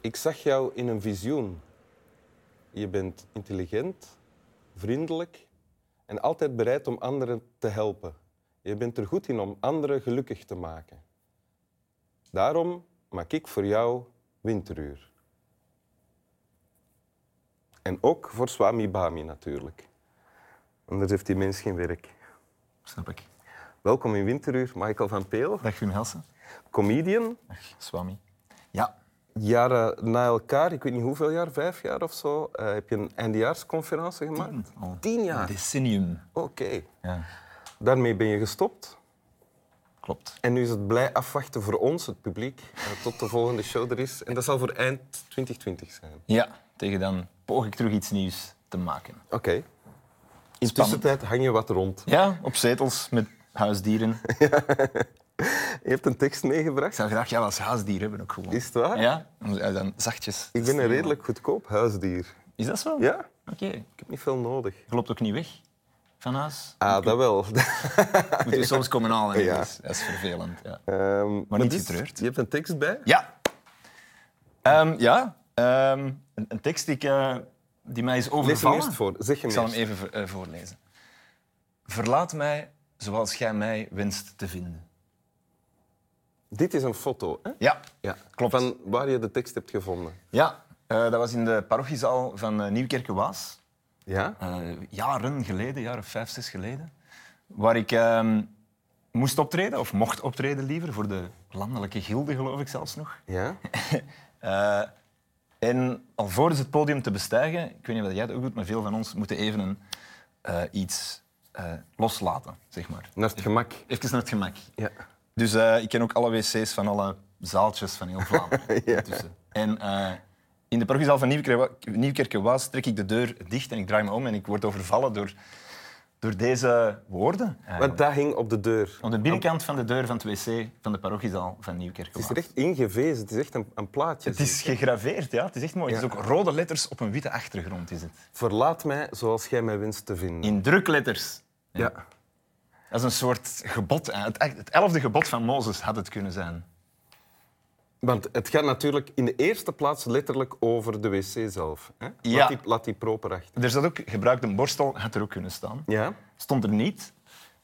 ik zag jou in een visioen. Je bent intelligent, vriendelijk en altijd bereid om anderen te helpen. Je bent er goed in om anderen gelukkig te maken. Daarom maak ik voor jou winteruur. En ook voor Swami Bami natuurlijk. Anders heeft die mens geen werk. Snap ik. Welkom in Winteruur, Michael van Peel, Dag Wim Helsen. comedian. Dag Swami. Ja, Jaren na elkaar, ik weet niet hoeveel jaar, vijf jaar of zo, eh, heb je een eindejaarsconferentie gemaakt. al Tien Oh, een jaar. decennium. Oké. Ja, Daarmee ben je gestopt. klopt. En nu is het blij afwachten voor ons, het publiek, eh, tot de volgende show er is. En dat zal voor eind 2020 zijn. Ja, tegen dan poog ik terug iets nieuws te maken. Oké. In de tussentijd hang je wat rond. Ja, op zetels met huisdieren. Je hebt een tekst Ik meegebracht. zou graag jou als huisdier hebben ook gewoon. Is het waar? Ja, om ja, dan zachtjes. te Ik ben een streamen. redelijk goedkoop huisdier. Is dat zo? Ja, Oké. ik heb niet veel nodig. Je loopt ook niet weg van huis. Ah, dat wel. Je moet je soms komen halen. hè. Ja. Dat, is, dat is vervelend. Ja. Ehm, niet dus, getreurd. Je hebt een tekst bij. Ja. Ehm, ja. Ehm, een, een tekst die, ik, eh, die mij is Lees hem overvallen. eerst voor. Zeg hem Ik zal hem eerst. even ver- eh, voorlezen. Verlaat mij zoals gij mij wenst te vinden. Dit is een foto, hè? Ja, Ja, Klopt. Van waar je de tekst hebt gevonden. ja eh, dat was in de parochiezaal van eh, Nieuwkerke-Waas. Ja? eh, jaren geleden, jaren vijf, zes geleden, waar ik ehm, moest optreden, of mocht optreden liever, voor de landelijke gilde geloof ik zelfs nog. Ja? Eh, en alvorens het podium te bestijgen, ik weet niet wat jij dat ook doet, maar veel van ons moeten even een, eh, iets eh, loslaten, zeg maar. Naar het gemak. Even naar het gemak. Ja. Dus eh, ik ken ook alle wc's van alle zaaltjes van heel Vlaanderen. ertussen. En eh, in de parochiezaal van Nieuwkerke Waas trek ik de deur dicht en ik draai me om en ik word overvallen door, door deze woorden. eigenlijk. Want dat hing op de deur. Aan de binnenkant van de deur van het wc van de parochiezaal van Nieuwkerke Het is Waas. er echt ingevezen. Het is echt een, een plaatje. Het is gegraveerd, ja. Het is echt mooi. Het is ook rode letters op een witte achtergrond, is het. Dus Verlaat mij zoals jij mij wenst te vinden. In drukletters. Ja. Dat is een soort gebod. eh, Het, het elfde gebod van Mozes had het kunnen zijn. Want het gaat natuurlijk in de eerste plaats letterlijk over de wc zelf. Hè? Ja. Laat, die, laat die proper achter. Er zat ook gebruikt een borstel, had er ook kunnen staan. Ja? stond er niet.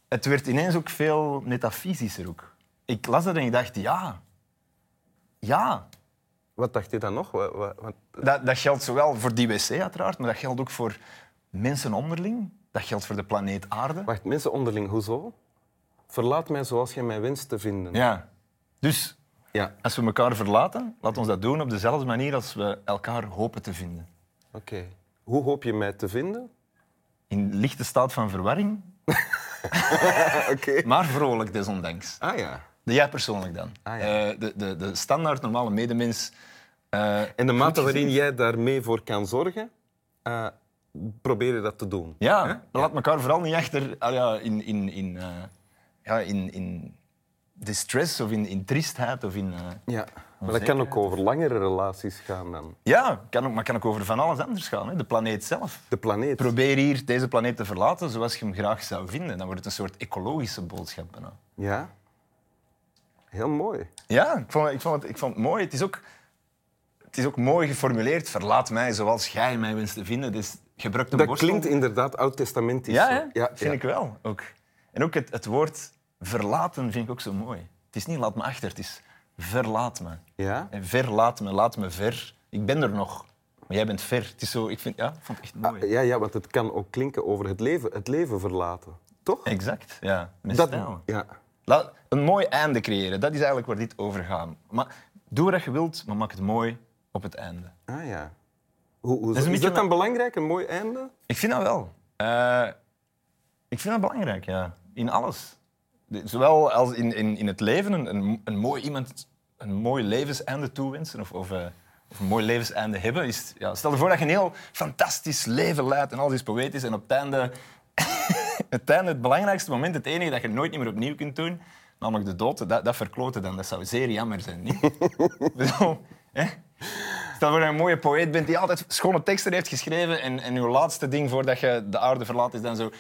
Het werd ineens ook veel metafysischer ook. Ik las dat en ik dacht, ja. Ja. Wat dacht je dan nog? Wa- wa- wat- Dat, dat geldt zowel voor die wc uiteraard, maar dat geldt ook voor mensen onderling. Dat geldt voor de planeet aarde. Wacht, mensen onderling, hoezo? Verlaat mij zoals jij mij wenst te vinden. Ja. Dus Ja, als we elkaar verlaten, laat ons dat doen op dezelfde manier als we elkaar hopen te vinden. oké. Hoe hoop je mij te vinden? In lichte staat van verwarring, Oké. maar vrolijk desondanks. Ah ja. De jij persoonlijk dan. Ah, ja. Eh, de, de, de standaard normale medemens. eh, En de mate waarin jij daarmee voor kan zorgen, eh, probeer je dat te doen. Ja, laat elkaar vooral niet achter ah ja, in, in, in, eh, ja, in, in distress of in, in triestheid. Of in, eh, Ja. Maar dat kan ook over langere relaties gaan dan. Ja, kan ook, maar kan ook over van alles anders gaan. Hè? De planeet zelf. De planeet. Probeer hier deze planeet te verlaten zoals je hem graag zou vinden. Dan wordt het een soort ecologische boodschap bijna. ja. Heel mooi. Ja, ik vond, ik vond, het, ik vond het mooi. Het is, ook, het is ook mooi geformuleerd. Verlaat mij zoals jij mij wenst te vinden. Dus gebruik de Dat borstel. klinkt inderdaad oud-testamentisch. Ja, zo. hè? vind ik wel. Ook. En ook het, het woord verlaten vind ik ook zo mooi. Het is niet laat me achter, het is verlaat me. Ja? En verlaat me, laat me ver. Ik ben er nog, maar jij bent ver. Het is zo, ik vind, ja, ik vond het echt mooi. Ah, Ja, ja, want het kan ook klinken over het leven, het leven verlaten. Toch? Exact, ja. Met stijl. ja. Laat een mooi einde creëren, dat is eigenlijk waar dit over gaat. Maar doe wat je wilt, maar maak het mooi op het einde. Ah ja. Hoe, hoe, een is, beetje dat dan een- belangrijk, een mooi einde? Ik vind dat wel. Eh, ik vind dat belangrijk, ja. In alles. De- Zowel als in, in, in het leven, een, een, een mooi iemand een mooi levenseinde toewensen of, of, eh, of een mooi levenseinde hebben. Is, ja, stel je voor dat je een heel fantastisch leven leidt en alles is poëtisch en op het einde, het einde, het belangrijkste moment, het enige dat je nooit meer opnieuw kunt doen, namelijk de dood, dat, dat verkloten dan. Dat zou zeer jammer zijn, niet? Ik bedoel, hè? Stel voor dat je een mooie poëet bent die altijd schone teksten heeft geschreven en, en je laatste ding voordat je de aarde verlaat is dan zo...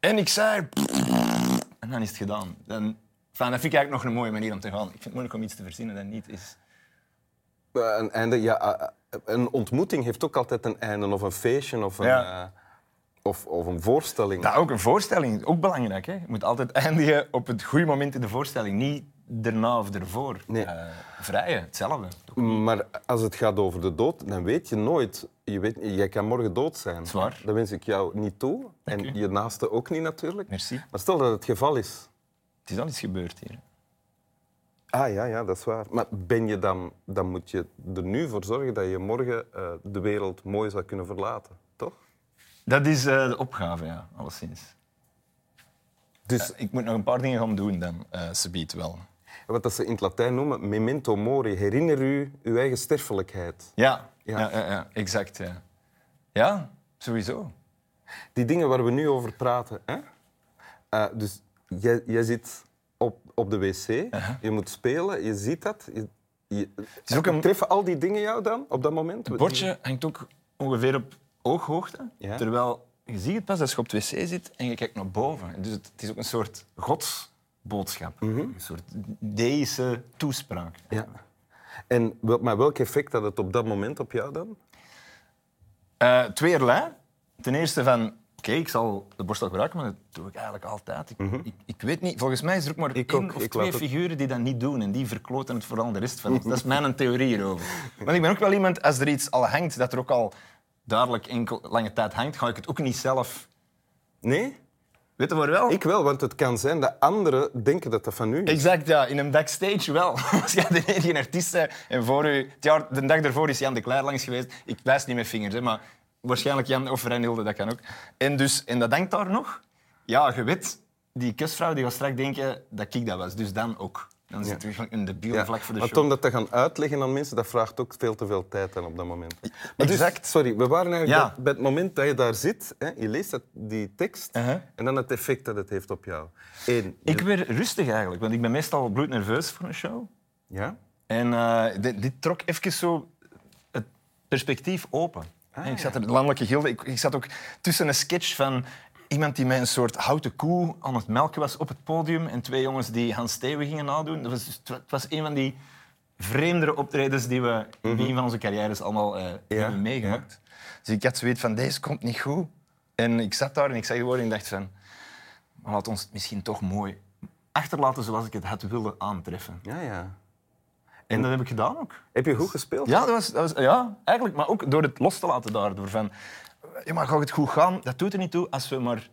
En ik zei... En dan is het gedaan. Dan, enfin, dat vind ik eigenlijk nog een mooie manier om te gaan. Ik vind het moeilijk om iets te verzinnen dat niet is. Eh, Een einde, ja, eh, eh, een ontmoeting heeft ook altijd een einde, of een feestje, of een, Ja. eh, of, of een voorstelling. Nou, ook een voorstelling, ook belangrijk. Hè? Je moet altijd eindigen op het goede moment in de voorstelling, niet daarna of ervoor. Nee. Eh, vrije, hetzelfde. Maar als het gaat over de dood, dan weet je nooit. Je weet, jij kan morgen dood zijn. Zwaar. Dat wens ik jou niet toe. En je naaste ook niet natuurlijk. Merci. Maar stel dat het geval is. Het is al iets gebeurd hier. Ah ja, ja, dat is waar. Maar ben je dan, dan moet je er nu voor zorgen dat je morgen eh, de wereld mooi zou kunnen verlaten, toch? Dat is eh, de opgave, ja, alleszins. Dus Ik moet nog een paar dingen gaan doen dan, eh subiet wel. wat dat ze in het Latijn noemen, memento mori, herinner u uw eigen sterfelijkheid. Ja, Ja. ja. ja, ja, exact. Ja. ja, sowieso. Die dingen waar we nu over praten. Hè? Eh, dus jij, jij zit op, op de wc, je moet spelen, je ziet dat. Je, je- Uh-huh. is ook een- Treffen al die dingen jou dan op dat moment? Het bordje hangt ook ongeveer op ooghoogte. Ja. Terwijl je ziet het pas als je op het wc zit en je kijkt naar boven. Dus het, het is ook een soort godsboodschap. Een soort deïsche toespraak. Ja. En wel, maar welk effect had het op dat moment op jou dan? Eh tweeërlei. Ten eerste van, oké, ik zal de borstel gebruiken, maar dat doe ik eigenlijk altijd. Ik, ik, ik weet niet, volgens mij is er ook maar Mhm. Ik één ook, of ik twee laat het- figuren die dat niet doen. En die verkloten het vooral de rest van ons. Dat is mijn theorie hierover. Want ik ben ook wel iemand, als er iets al hangt, dat er ook al duidelijk enkel lange tijd hangt, ga ik het ook niet zelf... Nee? Weet je voor wel? Ik wel, want het kan zijn dat anderen denken dat dat van u is. Exact, ja. In een backstage wel. Als jij de enige artiest bent en voor u... Het jaar, de dag daarvoor is Jan de Klaar langs geweest. Ik wijs niet met vingers, hè, maar waarschijnlijk Jan of Renilde, dat kan ook. En, dus, en dat denkt daar nog. Ja, je weet, die kusvrouw die gaat straks denken dat ik dat was. Dus dan ook. Dan zit er een debiele Ja. vlak voor de Want show. om dat te gaan uitleggen aan mensen, dat vraagt ook veel te veel tijd dan op dat moment. Maar dus, Exact. sorry, we waren eigenlijk Ja. bij- bij het moment dat je daar zit, hè, je leest dat, die tekst, Uh-huh. en dan het effect dat het heeft op jou. Eén, je- Ik werd rustig eigenlijk, want ik ben meestal bloednerveus voor een show. Ja? En eh, dit, dit trok even zo het perspectief open. En ik zat in de landelijke gilde. Ik, ik zat ook tussen een sketch van iemand die met een soort houten koe aan het melken was op het podium en twee jongens die Hans Steven gingen nadoen. Dat was, dus- het wa- het was een van die vreemdere optredens die we in het begin van onze carrières allemaal eh, hebben meegemaakt. Dus ik had zoiets van, deze komt niet goed. En ik zat daar en ik zag die woorden en ik dacht van, laat ons het misschien toch mooi achterlaten zoals ik het had willen aantreffen. Ja, ja. En dat heb ik gedaan ook. Heb je goed gespeeld? Ja, dat was, dat was, ja, eigenlijk, maar ook door het los te laten daardoor. Van, ja, maar gaat het goed gaan? Dat doet er niet toe als we maar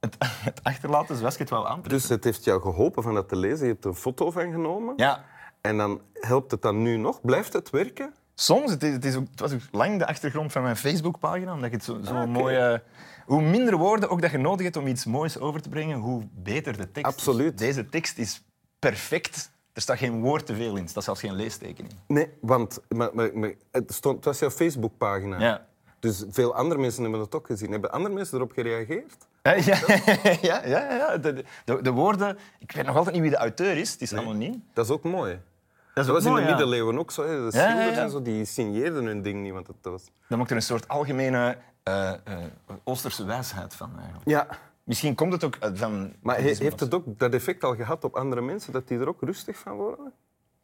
het, het achterlaten zoals ik het wou aantrekken. Dus het heeft jou geholpen van dat te lezen. Je hebt er een foto van genomen. Ja, En dan helpt het dan nu nog? Blijft het werken? soms, het, is, het, is ook, het was ook lang de achtergrond van mijn Facebookpagina, omdat ik het zo- zo'n mooie... Hoe minder woorden ook dat je nodig hebt om iets moois over te brengen, hoe beter de tekst Absoluut. is. Deze tekst is perfect. Er staat geen woord te veel in. Er staat zelfs geen leestekening. Nee, want maar, maar, maar het, stond, het was jouw Facebookpagina. Ja. Dus veel andere mensen hebben dat ook gezien. Hebben andere mensen erop gereageerd? Hè, Ja, ja, ja, ja, ja. De, de, de woorden... Ik weet nog altijd niet wie de auteur is. Het is anoniem. Dat is ook mooi. Dat, Dat was mooi, in de ja. middeleeuwen ook zo. hè. De ja, schilders ja. en zo, die signeerden hun ding niet, want het was... Dan maakt er een soort algemene eh, eh, Oosterse wijsheid van. Eigenlijk. Ja. Misschien komt het ook uit van. Maar he- boeddhisme heeft of het ook dat effect al gehad op andere mensen, dat die er ook rustig van worden? zo.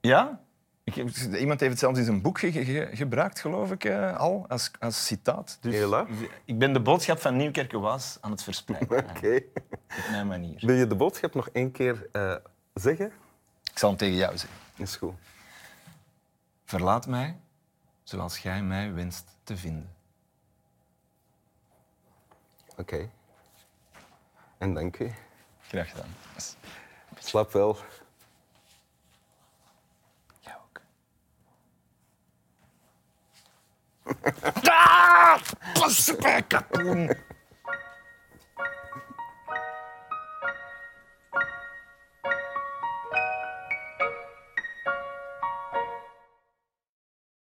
Ja? Ik, heb- iemand heeft het zelfs in zijn boek ge- ge- gebruikt, geloof ik, eh, al als, als citaat. Dus Hela. Oké. ik ben de boodschap van Nieuwkerke Waas aan het verspreiden. eigenlijk, Op mijn manier. Wil je de boodschap nog één keer eh, zeggen? Ik zal hem tegen jou zeggen. Is goed. Verlaat mij zoals jij mij wenst te vinden. Oké. En dank u. Graag gedaan. Yes. Slaap wel. Jij ook. Ah! Klassieke katoen!